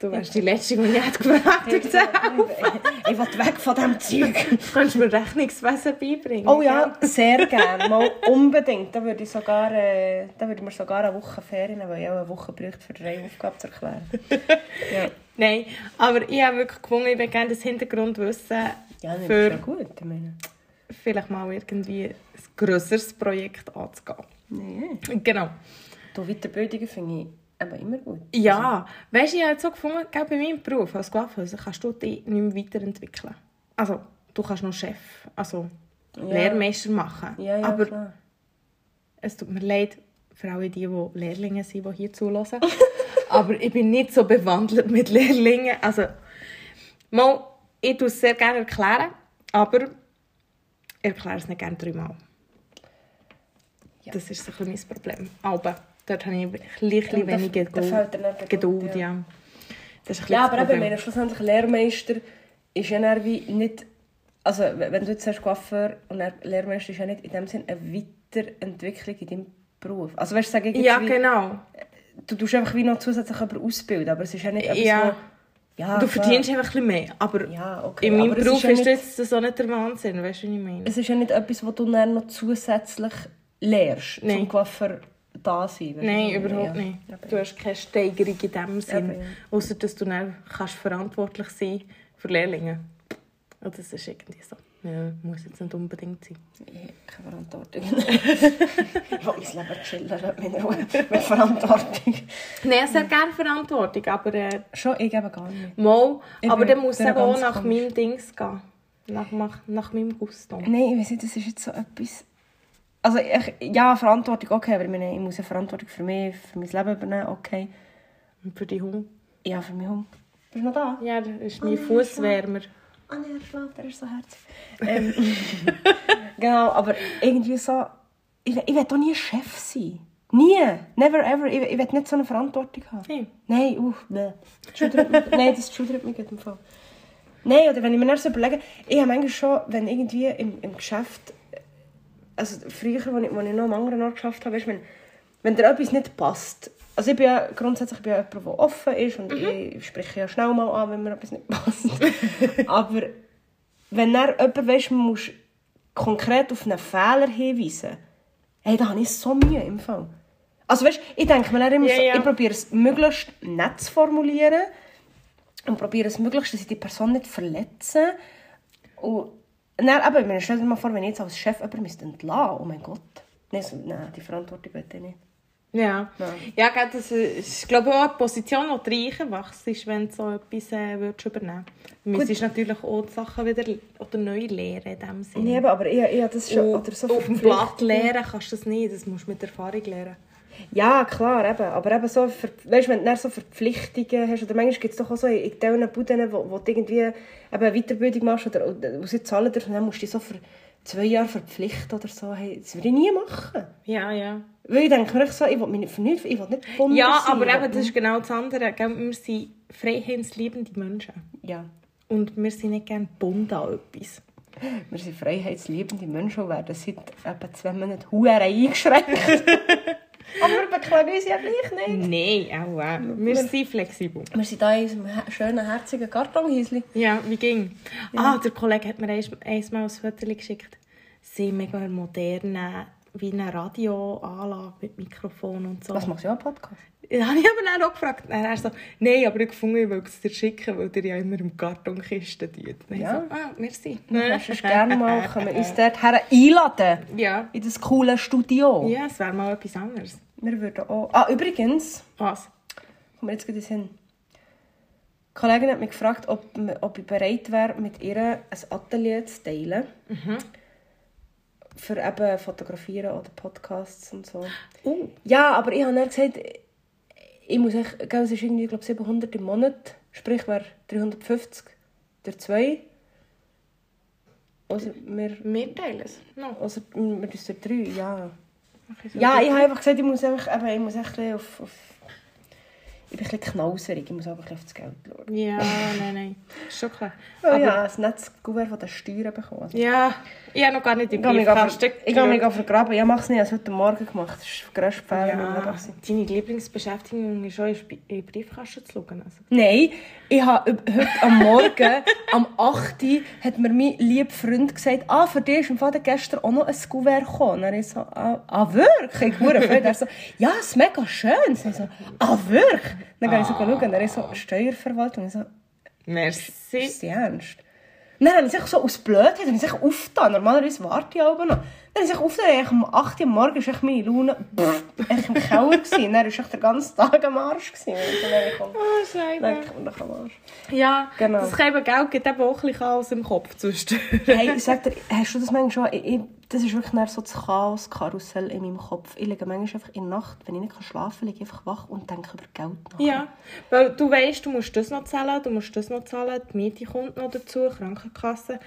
[SPEAKER 2] Du wärst die Letzte, die ich hätte gefragt
[SPEAKER 1] Ich
[SPEAKER 2] hätte.
[SPEAKER 1] will weg von diesem Zeug.
[SPEAKER 2] Du kannst mir Rechnungswesen beibringen.
[SPEAKER 1] genau. Oh ja,
[SPEAKER 2] gell?
[SPEAKER 1] sehr gerne. Mal unbedingt. Da würde ich sogar, äh, da würde ich mir sogar eine Woche Ferien nehmen, weil ich auch eine Woche bräuchte, für drei Aufgaben zu erklären. ja.
[SPEAKER 2] Nein, aber ich habe wirklich gefunden, ich würde gerne das Hintergrundwissen
[SPEAKER 1] Ja, das ist ja
[SPEAKER 2] für
[SPEAKER 1] gut. Ich meine.
[SPEAKER 2] vielleicht mal irgendwie ein grösseres Projekt anzugehen.
[SPEAKER 1] Nee.
[SPEAKER 2] Genau.
[SPEAKER 1] Du Weiterbildungen finde ich aber immer gut.
[SPEAKER 2] Ja, Also. weißt du, ich habe jetzt so gefunden, gell, bei meinem Beruf als Coiffeuse kannst du dich nicht mehr weiterentwickeln. Also, du kannst noch Chef, also Lehrmeister machen.
[SPEAKER 1] Ja, ja,
[SPEAKER 2] aber
[SPEAKER 1] klar.
[SPEAKER 2] es tut mir leid für alle die, die Lehrlinge sind, die hier zulassen. aber ich bin nicht so bewandelt mit Lehrlingen. Also, mal, ich tue es sehr gerne erklären, aber ich erkläre es nicht gerne dreimal.
[SPEAKER 1] Ja.
[SPEAKER 2] Das ist so ein bisschen mein Problem. Aber dort habe ich ein bisschen
[SPEAKER 1] Da- da-
[SPEAKER 2] weniger
[SPEAKER 1] da fehlt dir nicht
[SPEAKER 2] Geduld.
[SPEAKER 1] Geduld,
[SPEAKER 2] Geduld
[SPEAKER 1] ja.
[SPEAKER 2] ja. Das ist ein bisschen
[SPEAKER 1] Ja,
[SPEAKER 2] das
[SPEAKER 1] aber eben, ich
[SPEAKER 2] Problem.
[SPEAKER 1] meine, schlussendlich Lehrmeister ist ja dann wie nicht also w- wenn du jetzt sagst Coiffeur und dann Lehrmeister ist ja nicht in dem Sinn eine Weiterentwicklung in deinem Beruf. Also weißt du, sag ich jetzt
[SPEAKER 2] Ja,
[SPEAKER 1] wie,
[SPEAKER 2] genau.
[SPEAKER 1] du tust einfach wie noch zusätzlich jemanden ausbilden, aber es ist ja nicht etwas,
[SPEAKER 2] Ja.
[SPEAKER 1] wo-
[SPEAKER 2] du
[SPEAKER 1] ja, Ah, klar.
[SPEAKER 2] verdienst einfach ein bisschen mehr. Aber
[SPEAKER 1] Ja, okay.
[SPEAKER 2] in meinem
[SPEAKER 1] aber es
[SPEAKER 2] Beruf
[SPEAKER 1] ja
[SPEAKER 2] ist,
[SPEAKER 1] nicht-
[SPEAKER 2] das jetzt so nicht der Wahnsinn, weißt du, was ich meine?
[SPEAKER 1] Es ist ja nicht etwas, was du dann noch zusätzlich lehrst,
[SPEAKER 2] Nein.
[SPEAKER 1] zum Coiffeur da sein. weisst du, was
[SPEAKER 2] Nein,
[SPEAKER 1] ich meine?
[SPEAKER 2] überhaupt
[SPEAKER 1] Ja.
[SPEAKER 2] nicht.
[SPEAKER 1] Aber-
[SPEAKER 2] Du hast keine Steigerung in dem Sinn,
[SPEAKER 1] Eben, ja.
[SPEAKER 2] außer dass du dann kannst verantwortlich sein für Lehrlinge. Und das ist irgendwie so. Ja, muss jetzt nicht unbedingt sein.
[SPEAKER 1] Ich habe keine Verantwortung. ich will mein Leben chillen, lass mich in Ruhe. mit Verantwortung.
[SPEAKER 2] Nein, sehr gerne Verantwortung, aber äh,
[SPEAKER 1] Schon, ich eben gar nicht.
[SPEAKER 2] mal.
[SPEAKER 1] Ich
[SPEAKER 2] aber
[SPEAKER 1] bin
[SPEAKER 2] dann muss es
[SPEAKER 1] sehr
[SPEAKER 2] eben auch
[SPEAKER 1] ganz
[SPEAKER 2] nach
[SPEAKER 1] komisch.
[SPEAKER 2] meinem Dings gehen. Nach, nach, nach meinem Gusto.
[SPEAKER 1] Nein, ich weiß nicht, das ist jetzt so etwas... Also, ich, ja, Verantwortung, okay, aber ich meine, ich muss ja Verantwortung für mich, für mein Leben übernehmen, okay.
[SPEAKER 2] Und für die Hunde.
[SPEAKER 1] Ja, für meinen Hund. Bist du noch da?
[SPEAKER 2] Ja, das ist
[SPEAKER 1] Oh,
[SPEAKER 2] mein Fußwärmer.
[SPEAKER 1] Ah oh, nein, er schläft, er ist so herzig. Ähm, genau, aber irgendwie so... Ich, will- ich will doch nie Chef sein. Nie! Never ever. Ich, will- ich will nicht so eine Verantwortung haben.
[SPEAKER 2] Nein.
[SPEAKER 1] Nein, uff, nein. nein, das schudert mich gerade im Fall. Nein, oder wenn ich mir dann so überlege, ich habe manchmal schon, wenn irgendwie im, im Geschäft, also früher, eh, als ich, als ich noch am anderen Ort geschafft habe, weißt, du, wenn, wenn dir etwas nicht passt, also ich bin ja grundsätzlich ich bin ja jemand, der offen ist und ich spreche ja schnell mal an, wenn mir etwas nicht passt. Aber wenn dann jemand, weißt, man muss konkret auf einen Fehler hinweisen, hey, da habe ich so Mühe im Fall. Also weißt, ich denke mir dann immer
[SPEAKER 2] Ja,
[SPEAKER 1] so,
[SPEAKER 2] ja.
[SPEAKER 1] ich probiere es möglichst nett zu formulieren und probiere es möglichst, dass ich die Person nicht verletze. Und dann, aber ich meine, stell dir mal vor, wenn ich jetzt als Chef jemanden müsste entlassen müsste, oh mein Gott. Nein, so, nein die Verantwortung will ich
[SPEAKER 2] Mhm.
[SPEAKER 1] nicht.
[SPEAKER 2] Ja,
[SPEAKER 1] Ja.
[SPEAKER 2] ja gell, das ist, glaube ich, auch eine Position, die du reichen wachst, wenn du so etwas äh, würdest übernehmen würdest. ist natürlich auch die Sachen wieder oder neu lehren in dem Sinne.
[SPEAKER 1] Nee, eben, aber ich, ich habe das schon...
[SPEAKER 2] Und
[SPEAKER 1] oder so
[SPEAKER 2] auf dem
[SPEAKER 1] verpflichtet.
[SPEAKER 2] Blatt lehren kannst du das nicht, das musst du mit Erfahrung lernen.
[SPEAKER 1] Ja, klar, eben. Aber eben so, ver weißt, wenn du dann so Verpflichtungen hast, oder manchmal gibt es doch auch so in- in diesen Buden, wo, wo du irgendwie eben eine Weiterbildung machst oder oder- wo sie zahlen dürfen, dann musst du dich so für zwei Jahre verpflichten oder so. Hey, das würde ich nie machen.
[SPEAKER 2] Ja, ja.
[SPEAKER 1] Weil ich denke mir echt so, ich will mich nicht vernünftig, ich will nicht gebunden
[SPEAKER 2] Ja,
[SPEAKER 1] sein,
[SPEAKER 2] aber
[SPEAKER 1] ich will
[SPEAKER 2] eben, das
[SPEAKER 1] nicht-
[SPEAKER 2] ist genau das andere. Gell? Wir sind freiheitsliebende Menschen.
[SPEAKER 1] Ja,
[SPEAKER 2] Und wir sind nicht gerne gebunden an etwas.
[SPEAKER 1] wir sind freiheitsliebende Menschen und werden seit etwa zwei Monaten huere eingeschränkt. aber wir beklagen uns ja gleich nicht.
[SPEAKER 2] Nein, auch. äh, Wir sind flexibel.
[SPEAKER 1] Wir sind hier in unserem he- schönen, herzigen Kartonhäuschen.
[SPEAKER 2] Ja, wie ging? Ah, der Kollege hat mir eins- einmal ein Foto geschickt. Sie sind mega moderne, wie eine Radioanlage mit Mikrofon und so.
[SPEAKER 1] Was machst du auch Podcast?
[SPEAKER 2] Da habe ich aber dann auch gefragt. Dann er so, nein, aber ich gefunden, ich will es dir schicken, weil ihr ja immer im Kartonkisten tut. Dann
[SPEAKER 1] Ja.
[SPEAKER 2] ich so, ah, merci.
[SPEAKER 1] Ne? Kannst du es gerne mal, können wir uns dort her einladen?
[SPEAKER 2] Ja.
[SPEAKER 1] In das coole Studio.
[SPEAKER 2] Ja, es wäre mal etwas anderes.
[SPEAKER 1] Wir würden auch... Ah, übrigens,
[SPEAKER 2] Was?
[SPEAKER 1] kommen wir jetzt gerade hin. Die Kollegin hat mich gefragt, ob, wir- ob ich bereit wäre, mit ihr ein Atelier zu teilen. Für eben Fotografieren oder Podcasts und so.
[SPEAKER 2] Oh.
[SPEAKER 1] Ja, aber ich habe dann gesagt, ich muss echt, gell, es ist irgendwie, glaube 700 im Monat, sprich wäre 350 durch 2. Also wir,
[SPEAKER 2] Wir teilen es. No.
[SPEAKER 1] also wir durch 3, ja.
[SPEAKER 2] Mach ich so.
[SPEAKER 1] Ja, ich habe einfach gesagt, ich muss einfach, eben, ich muss echt ein bisschen auf, auf... Ich bin ein bisschen knauserig, ich muss aber ein bisschen auf das Geld schauen.
[SPEAKER 2] Ja, nein, nein. Ist schon klar.
[SPEAKER 1] Oh
[SPEAKER 2] aber,
[SPEAKER 1] ja, ein nettes Gouverne von den Steuern bekommen. Also,
[SPEAKER 2] ja, ich habe noch gar nicht
[SPEAKER 1] ich
[SPEAKER 2] im
[SPEAKER 1] gehe mich gar ver-
[SPEAKER 2] Briefkasten
[SPEAKER 1] ich gehe mich
[SPEAKER 2] geschaut.
[SPEAKER 1] gar vergraben. Ich mache es nicht, ich habe es heute Morgen gemacht. Das ist der grösste Fehler in meinem Leben.
[SPEAKER 2] Ja,
[SPEAKER 1] gewesen.
[SPEAKER 2] deine Lieblingsbeschäftigung ist auch in Sp- in den Briefkasten zu schauen. Also.
[SPEAKER 1] Nein, ich habe üb- heute am Morgen, am 8. Uhr, hat mir mein lieber Freund gesagt, ah, für dich ist im Vater gestern auch noch ein Gouverne gekommen. Dann ich so, ah, ah wirklich? Ich wurde Er so, ja, es ist mega schön. Dann ich so, ah, wirklich? Dann gehe ich so schauen. Dann ich so, Steuerverwaltung. Ich so,
[SPEAKER 2] Merci.
[SPEAKER 1] ist das ernst? Dann haben sie sich so aus Blödheit haben sie sich aufgetan. Normalerweise warte ich aber noch. Dann haben sie sich aufgetan. Ich am 8 Uhr morgens war echt meine Laune pff, echt im Keller. Gewesen. Dann war ich echt den ganzen Tag am Arsch. Gewesen. Und dann habe ich gedacht,
[SPEAKER 2] Oh,
[SPEAKER 1] Nein,
[SPEAKER 2] scheiße.
[SPEAKER 1] ich komme doch am Arsch.
[SPEAKER 2] Ja,
[SPEAKER 1] Genau.
[SPEAKER 2] das kann eben Geld gibt eben auch ein bisschen Chaos im Kopf zwischendurch.
[SPEAKER 1] Hey, ich sag dir, hast du das manchmal schon? Ich, ich, das ist wirklich dann so das Chaos-Karussell in meinem Kopf. Ich liege manchmal einfach in der Nacht, wenn ich nicht schlafen kann, liege ich einfach wach und denke über Geld nach.
[SPEAKER 2] Ja, weil du weißt, du musst das noch zahlen, du musst das noch zahlen, die Miete kommt noch dazu, Krankenkasse.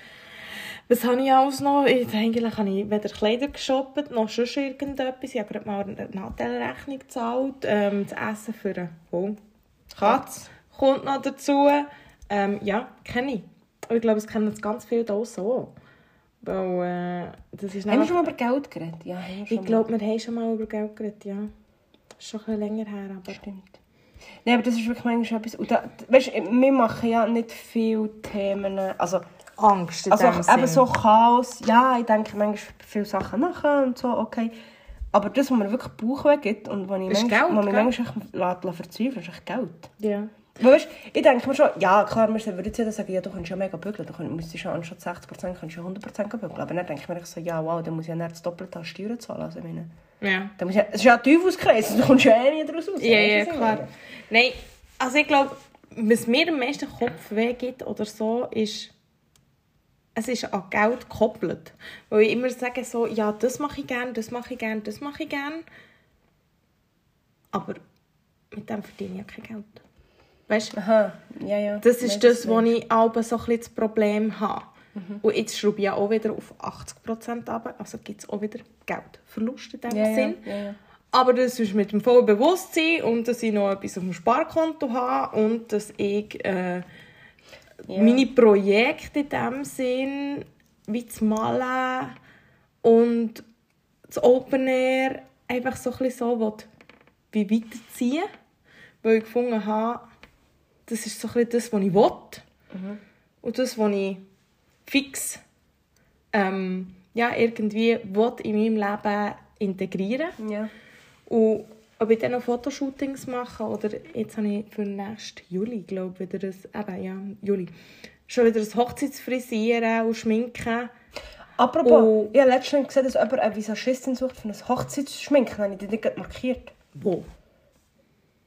[SPEAKER 2] Was habe ich alles noch? Ich, eigentlich habe ich weder Kleider geshoppt, noch sonst irgendetwas. Ich habe gerade mal eine Anteilrechnung gezahlt, ähm, das Essen für eine Katze kommt noch dazu. Ähm, ja, kenne ich. Und ich glaube, es kennen es ganz viele da so. Weil, äh, das ist
[SPEAKER 1] Haben wir
[SPEAKER 2] nämlich-
[SPEAKER 1] schon mal über Geld geredet? Ja, haben wir schon
[SPEAKER 2] Ich glaube, wir haben schon mal über Geld geredet, ja. Ist schon ein bisschen länger her, aber...
[SPEAKER 1] mal. Stimmt. Nein, aber das ist wirklich manchmal etwas... Und da, weißt, wir machen ja nicht viele Themen... Also,
[SPEAKER 2] Angst in
[SPEAKER 1] also
[SPEAKER 2] dem Sinn.
[SPEAKER 1] eben so Chaos. Ja, ich denke manchmal viele Sachen nachher und so, okay. Aber das, was mir wirklich Bauchweh gibt und was ich
[SPEAKER 2] Ist
[SPEAKER 1] manchmal,
[SPEAKER 2] Geld,
[SPEAKER 1] was mich
[SPEAKER 2] gell?
[SPEAKER 1] manchmal echt lässt- lässt verzweifeln ist echt Geld.
[SPEAKER 2] Ja.
[SPEAKER 1] Weil, Weißt, ich denke mir schon, ja klar, wir würden jetzt jeder sagen, ja, du kannst ja mega bügeln, du könnt- müsstest ja anstatt 60% kannst du ja 100% bügeln. Aber dann denke ich mir echt so, ja wow, dann muss ich ja nicht das Doppelte an Steuern zahlen. Also ich meine,
[SPEAKER 2] Ja.
[SPEAKER 1] dann muss ich, ja- es ist ja ein Teufelskreis, du kommst ja eh nicht daraus raus.
[SPEAKER 2] Ja, ja,
[SPEAKER 1] Weißt du, was ich
[SPEAKER 2] klar.
[SPEAKER 1] meine?
[SPEAKER 2] Nein, also ich glaube, was mir am meisten Kopfweh gibt oder so, ist, es ist an Geld gekoppelt. Weil ich immer sage so, ja, das mache ich gerne, das mache ich gerne, das mache ich gerne. Aber mit dem verdiene ich ja kein Geld. Weißt du,
[SPEAKER 1] Aha, ja, ja.
[SPEAKER 2] das
[SPEAKER 1] Weiss,
[SPEAKER 2] ist das,
[SPEAKER 1] weiss.
[SPEAKER 2] wo ich aber so ein bisschen das Problem habe.
[SPEAKER 1] Mhm.
[SPEAKER 2] Und jetzt schraube ich ja auch wieder auf 80% runter, also gibt es auch wieder Geldverlust in diesem
[SPEAKER 1] ja, ja,
[SPEAKER 2] Sinn.
[SPEAKER 1] ja, ja.
[SPEAKER 2] Aber das ist mit dem vollen Bewusstsein und dass ich noch etwas auf dem Sparkonto habe und dass ich äh, meine Projekte in dem Sinn, wie das Malen und das Open Air, einfach so ein bisschen so will, wie weiterziehen Weil ich gefunden habe, das ist so ein bisschen das, was ich will. Und das, was ich fix ähm, ja, irgendwie will in meinem Leben integrieren
[SPEAKER 1] Ja.
[SPEAKER 2] und ob ich dann noch Fotoshootings mache oder jetzt habe ich für nächsten Juli, glaube ich, wieder ein, eben, ja, Juli, schon wieder ein Hochzeitsfrisieren und Schminken.
[SPEAKER 1] Apropos,
[SPEAKER 2] Oh.
[SPEAKER 1] ich habe letztens gesehen, dass jemand eine Visagistin sucht für ein Hochzeitsschminken. Habe ich die nicht gerade markiert?
[SPEAKER 2] Wo?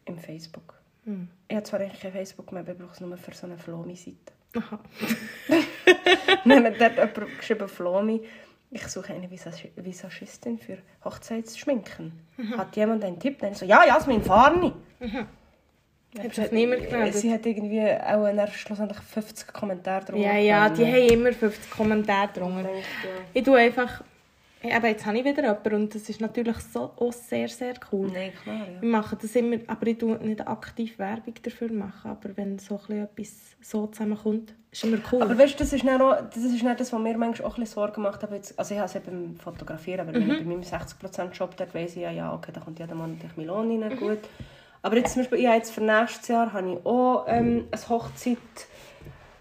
[SPEAKER 1] Im Facebook.
[SPEAKER 2] Hm.
[SPEAKER 1] Ich habe zwar eigentlich kein Facebook mehr, aber ich brauche es nur für so eine Flomi-Seite.
[SPEAKER 2] Aha.
[SPEAKER 1] Dann hat dort jemand geschrieben, Flomi, ich suche eine Visag- Visagistin für Hochzeitsschminken.
[SPEAKER 2] Mhm.
[SPEAKER 1] Hat jemand einen Tipp? Dann so, ja, Jasmin, Farni.
[SPEAKER 2] Hat sich niemand gemeldet?
[SPEAKER 1] Sie hat irgendwie auch dann schlussendlich 50 Kommentare drunter.
[SPEAKER 2] Ja, ja, die
[SPEAKER 1] gefunden.
[SPEAKER 2] haben immer 50 Kommentare drunter. Ich tue einfach, aber jetzt habe ich wieder jemanden und das ist natürlich so, auch sehr, sehr cool.
[SPEAKER 1] Nein, klar, ja.
[SPEAKER 2] Ich mache das immer, aber ich tue nicht aktiv Werbung dafür machen, aber wenn so ein bisschen etwas so zusammenkommt, ist immer cool.
[SPEAKER 1] Aber weißt du, das ist dann auch, das ist dann das, was mir manchmal auch ein bisschen Sorgen macht. Aber jetzt, also ich habe es eben beim Fotografieren, aber wenn ich bei meinem 60%-Job, dort weiss ich ja, ja, okay, da kommt jeden Monat ein Million rein, gut. Aber jetzt zum Beispiel, ich habe jetzt für nächstes Jahr habe ich auch ähm, eine Hochzeit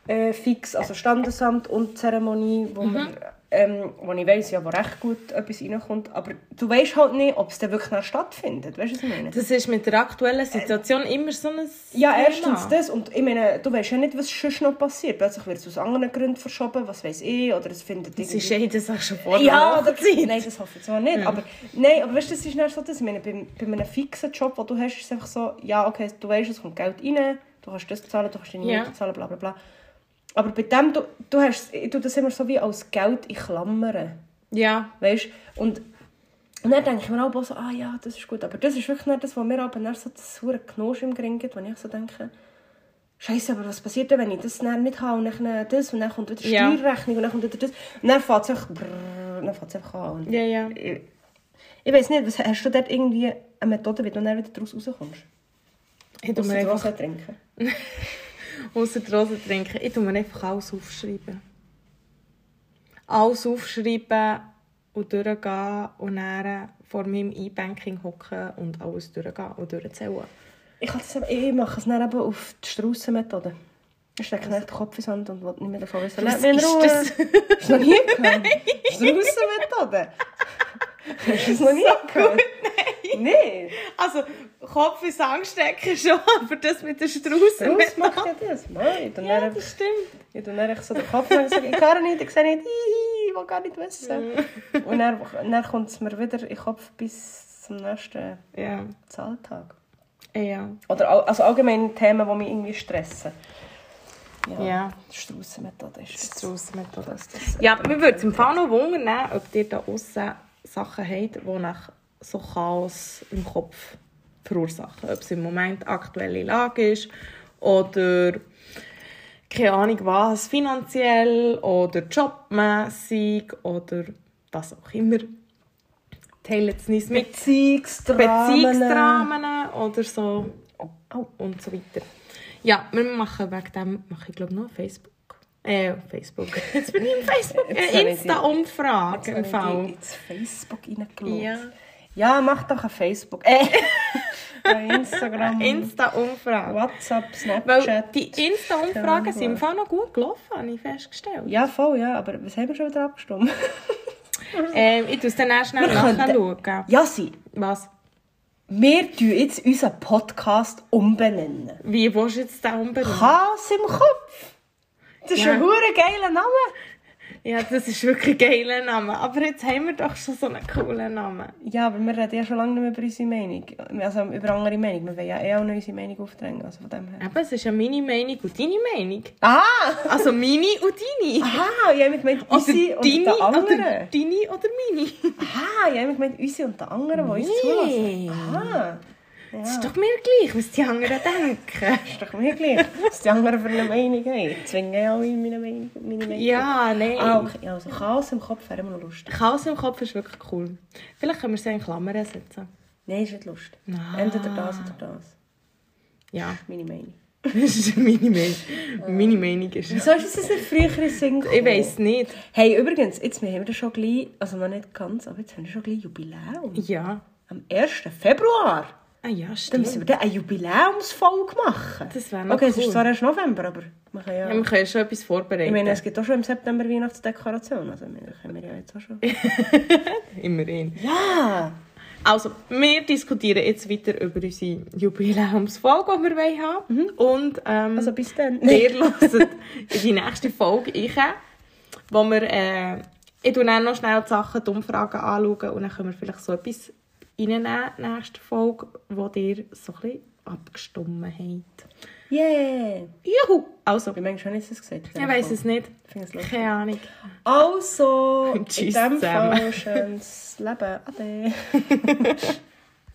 [SPEAKER 1] äh, fix, also Standesamt und Zeremonie, wo, wir, ähm, wo ich weiss, ja, wo recht gut etwas reinkommt. Aber du weißt halt nicht, ob es dann wirklich noch stattfindet, weißt du, was ich meine?
[SPEAKER 2] Das ist mit der aktuellen Situation immer so ein
[SPEAKER 1] Ja,
[SPEAKER 2] Thema.
[SPEAKER 1] erstens dus, das. Und ich meine, du weißt ja nicht, was sonst noch passiert. Plötzlich wird es aus anderen Gründen verschoben, was weiß ich, oder es findet
[SPEAKER 2] Das ist eh das auch schon vor der
[SPEAKER 1] ja, oder,
[SPEAKER 2] Hochzeit.
[SPEAKER 1] nein, das hoffe ich zwar nicht, aber nein, aber weißt du, das ist nicht so, dass ich meine, bei, bei einem fixen Job, den du hast, ist es einfach so, ja, okay, du weißt, es kommt Geld rein, du kannst das zahlen, du kannst deine
[SPEAKER 2] Ja.
[SPEAKER 1] Miete zahlen, bla bla bla. Aber bei dem, du, du hast, ich tue das immer so wie als Geld in Klammern,
[SPEAKER 2] Ja,
[SPEAKER 1] weißt du? Und und dann denke ich mir auch so, ah ja, das ist gut. Aber das ist wirklich nicht das, was mir aber dann so das saure Knosch im Gring gibt, wenn ich so denke, Scheiße, aber was passiert denn, wenn ich das dann nicht habe und dann das und dann kommt wieder
[SPEAKER 2] Ja.
[SPEAKER 1] Steuerrechnung und dann kommt wieder das und dann fährt es einfach, brrrr, dann fährt es einfach an. Und
[SPEAKER 2] ja, ja.
[SPEAKER 1] Ich, ich weiß nicht, was, hast du dort irgendwie eine Methode, wie du dann wieder daraus rauskommst?
[SPEAKER 2] Ich tue
[SPEAKER 1] Ausser
[SPEAKER 2] mir
[SPEAKER 1] die
[SPEAKER 2] einfach
[SPEAKER 1] Rose trinken.
[SPEAKER 2] ausser die Rose trinken. Ich tue mir einfach alles aufschreiben. Alles aufschreiben und durchgehen und dann vor meinem E-Banking hocken und alles durchgehen und durchzählen.
[SPEAKER 1] Ich, kann das, eben- ich mache es dann eben auf die Straussenmethode. Ich stecke nicht den Kopf in den Sand und will nicht mehr davon wissen.
[SPEAKER 2] Was
[SPEAKER 1] Lass mich in
[SPEAKER 2] ist
[SPEAKER 1] Ruhe.
[SPEAKER 2] das?
[SPEAKER 1] Hast du noch nie gehört? Straussenmethode. Hast du es noch nie gehört? Nein. Nein.
[SPEAKER 2] Also, Kopf ins Angstecken schon, aber das mit den Straußen.
[SPEAKER 1] Straus macht ja das. Nein. Und dann
[SPEAKER 2] Ja,
[SPEAKER 1] einfach-
[SPEAKER 2] das stimmt.
[SPEAKER 1] Ich tue dann echt so den Kopf und sage, ich kann nicht, ich sehe nicht, ich ich will gar nicht wissen. Und dann, dann kommt es mir wieder in den Kopf bis zum nächsten
[SPEAKER 2] Ja,
[SPEAKER 1] Zahltag.
[SPEAKER 2] ja.
[SPEAKER 1] Oder all- also allgemeine Themen, die mich irgendwie stressen.
[SPEAKER 2] Ja.
[SPEAKER 1] Die Straussenmethode ist
[SPEAKER 2] Die
[SPEAKER 1] das.
[SPEAKER 2] Straussmethode.
[SPEAKER 1] Das- das-
[SPEAKER 2] Ja, mir würde es im Fall noch wundern, ob ihr da außen Sachen habt, die nach so Chaos im Kopf verursachen. Ob es im Moment aktuelle Lage ist oder keine Ahnung was, finanziell oder jobmässig oder was auch immer. Teilt es uns mit
[SPEAKER 1] Beziehungsdramen.
[SPEAKER 2] Beziehungsdramen oder so
[SPEAKER 1] Oh, oh.
[SPEAKER 2] und so weiter. Ja, wir machen wegen dem, mache ich glaube noch Facebook. Äh, Facebook. Jetzt bin ich im Facebook. Äh,
[SPEAKER 1] Jetzt habe ich die-
[SPEAKER 2] Insta-Umfrage im
[SPEAKER 1] Jetzt habe ich
[SPEAKER 2] Fall.
[SPEAKER 1] Also die ins Facebook reingeschaut.
[SPEAKER 2] Ja.
[SPEAKER 1] ja, mach doch ein Facebook. Äh, ein Instagram,
[SPEAKER 2] Insta-Umfrage.
[SPEAKER 1] WhatsApp,
[SPEAKER 2] Weil
[SPEAKER 1] Snapchat.
[SPEAKER 2] die Insta-Umfragen
[SPEAKER 1] Keine
[SPEAKER 2] sind im Fall noch gut gelaufen, habe ich festgestellt.
[SPEAKER 1] Ja, voll, ja. Aber was haben wir schon wieder abgestimmt?
[SPEAKER 2] Ähm, ich tue es dann auch schnell
[SPEAKER 1] Wir könnten-
[SPEAKER 2] nachschauen.
[SPEAKER 1] ja, sie.
[SPEAKER 2] Was?
[SPEAKER 1] Wir tun jetzt unseren Podcast umbenennen.
[SPEAKER 2] Wie willst du jetzt den umbenennen?
[SPEAKER 1] Chaos im Kopf. Das ist
[SPEAKER 2] Ja.
[SPEAKER 1] ein hure geiler Name.
[SPEAKER 2] Ja, das ist wirklich ein geiler Name. Aber jetzt haben wir doch schon so einen coolen Namen.
[SPEAKER 1] Ja, aber wir reden ja schon lange nicht mehr über unsere Meinung. Also über andere Meinung. Wir wollen ja eh auch noch unsere Meinung aufdrängen. Also von dem her.
[SPEAKER 2] Aber es ist ja meine Meinung und deine Meinung.
[SPEAKER 1] Ah!
[SPEAKER 2] Also meine und deine.
[SPEAKER 1] Aha, ich habe gemeint, unsere und die
[SPEAKER 2] oder
[SPEAKER 1] anderen.
[SPEAKER 2] deine oder meine.
[SPEAKER 1] Ah. Aha, ich habe gemeint, unsere und die anderen, die uns
[SPEAKER 2] Nee.
[SPEAKER 1] zulassen. Aha.
[SPEAKER 2] Es ist doch mir gleich, was die anderen denken.
[SPEAKER 1] Ist doch mir gleich, was die anderen für eine Meinung haben. Ich zwinge ja alle meine Meinung. Meine Meinung.
[SPEAKER 2] Ja, nein.
[SPEAKER 1] Ah, okay. Ja, Also Chaos im Kopf wäre immer noch lustig.
[SPEAKER 2] Chaos im Kopf ist wirklich cool. Vielleicht können wir sie in Klammern setzen.
[SPEAKER 1] Nein, ist nicht lustig.
[SPEAKER 2] Ah.
[SPEAKER 1] Entweder das oder das.
[SPEAKER 2] Ja,
[SPEAKER 1] Meine Meinung.
[SPEAKER 2] das ist meine Meinung. Meine Meinung ist...
[SPEAKER 1] Wieso ist es nicht früher in Sinn
[SPEAKER 2] Ich weiss nicht.
[SPEAKER 1] Hey, übrigens, jetzt wir haben wir schon gleich, also noch nicht ganz, aber jetzt haben wir schon gleich Jubiläum.
[SPEAKER 2] Ja.
[SPEAKER 1] Am 1. Februar.
[SPEAKER 2] Ah ja,
[SPEAKER 1] Dann
[SPEAKER 2] stimmt.
[SPEAKER 1] müssen wir dann eine Jubiläumsfolge machen.
[SPEAKER 2] Das wäre noch
[SPEAKER 1] Okay, es ist
[SPEAKER 2] cool.
[SPEAKER 1] zwar erst November, aber wir können ja...
[SPEAKER 2] Ja, wir können schon etwas
[SPEAKER 1] ich
[SPEAKER 2] vorbereiten.
[SPEAKER 1] meine, es gibt auch schon im September Weihnachtsdekorationen, also wir können wir ja jetzt auch schon...
[SPEAKER 2] Immerhin.
[SPEAKER 1] Ja!
[SPEAKER 2] Also, wir diskutieren jetzt weiter über unsere Jubiläumsfolge, die wir wollen haben Und ähm,
[SPEAKER 1] Also bis dann.
[SPEAKER 2] ihr hört in die nächste Folge rein, wo wir... Äh, ich schaue dann noch schnell die Sachen, die Umfragen anschauen und dann können wir vielleicht so etwas reinnehmen, nächste Folge, wo ihr so ein bisschen abgestimmt habt.
[SPEAKER 1] Yeah!
[SPEAKER 2] Juhu! Also,
[SPEAKER 1] Wie manchmal schon ist es gesagt?
[SPEAKER 2] ich weiss es nicht.
[SPEAKER 1] Finde es lustig.
[SPEAKER 2] Keine Ahnung.
[SPEAKER 1] Also, in
[SPEAKER 2] Tschüss
[SPEAKER 1] diesem
[SPEAKER 2] zusammen.
[SPEAKER 1] Fall schönes Leben. Ade.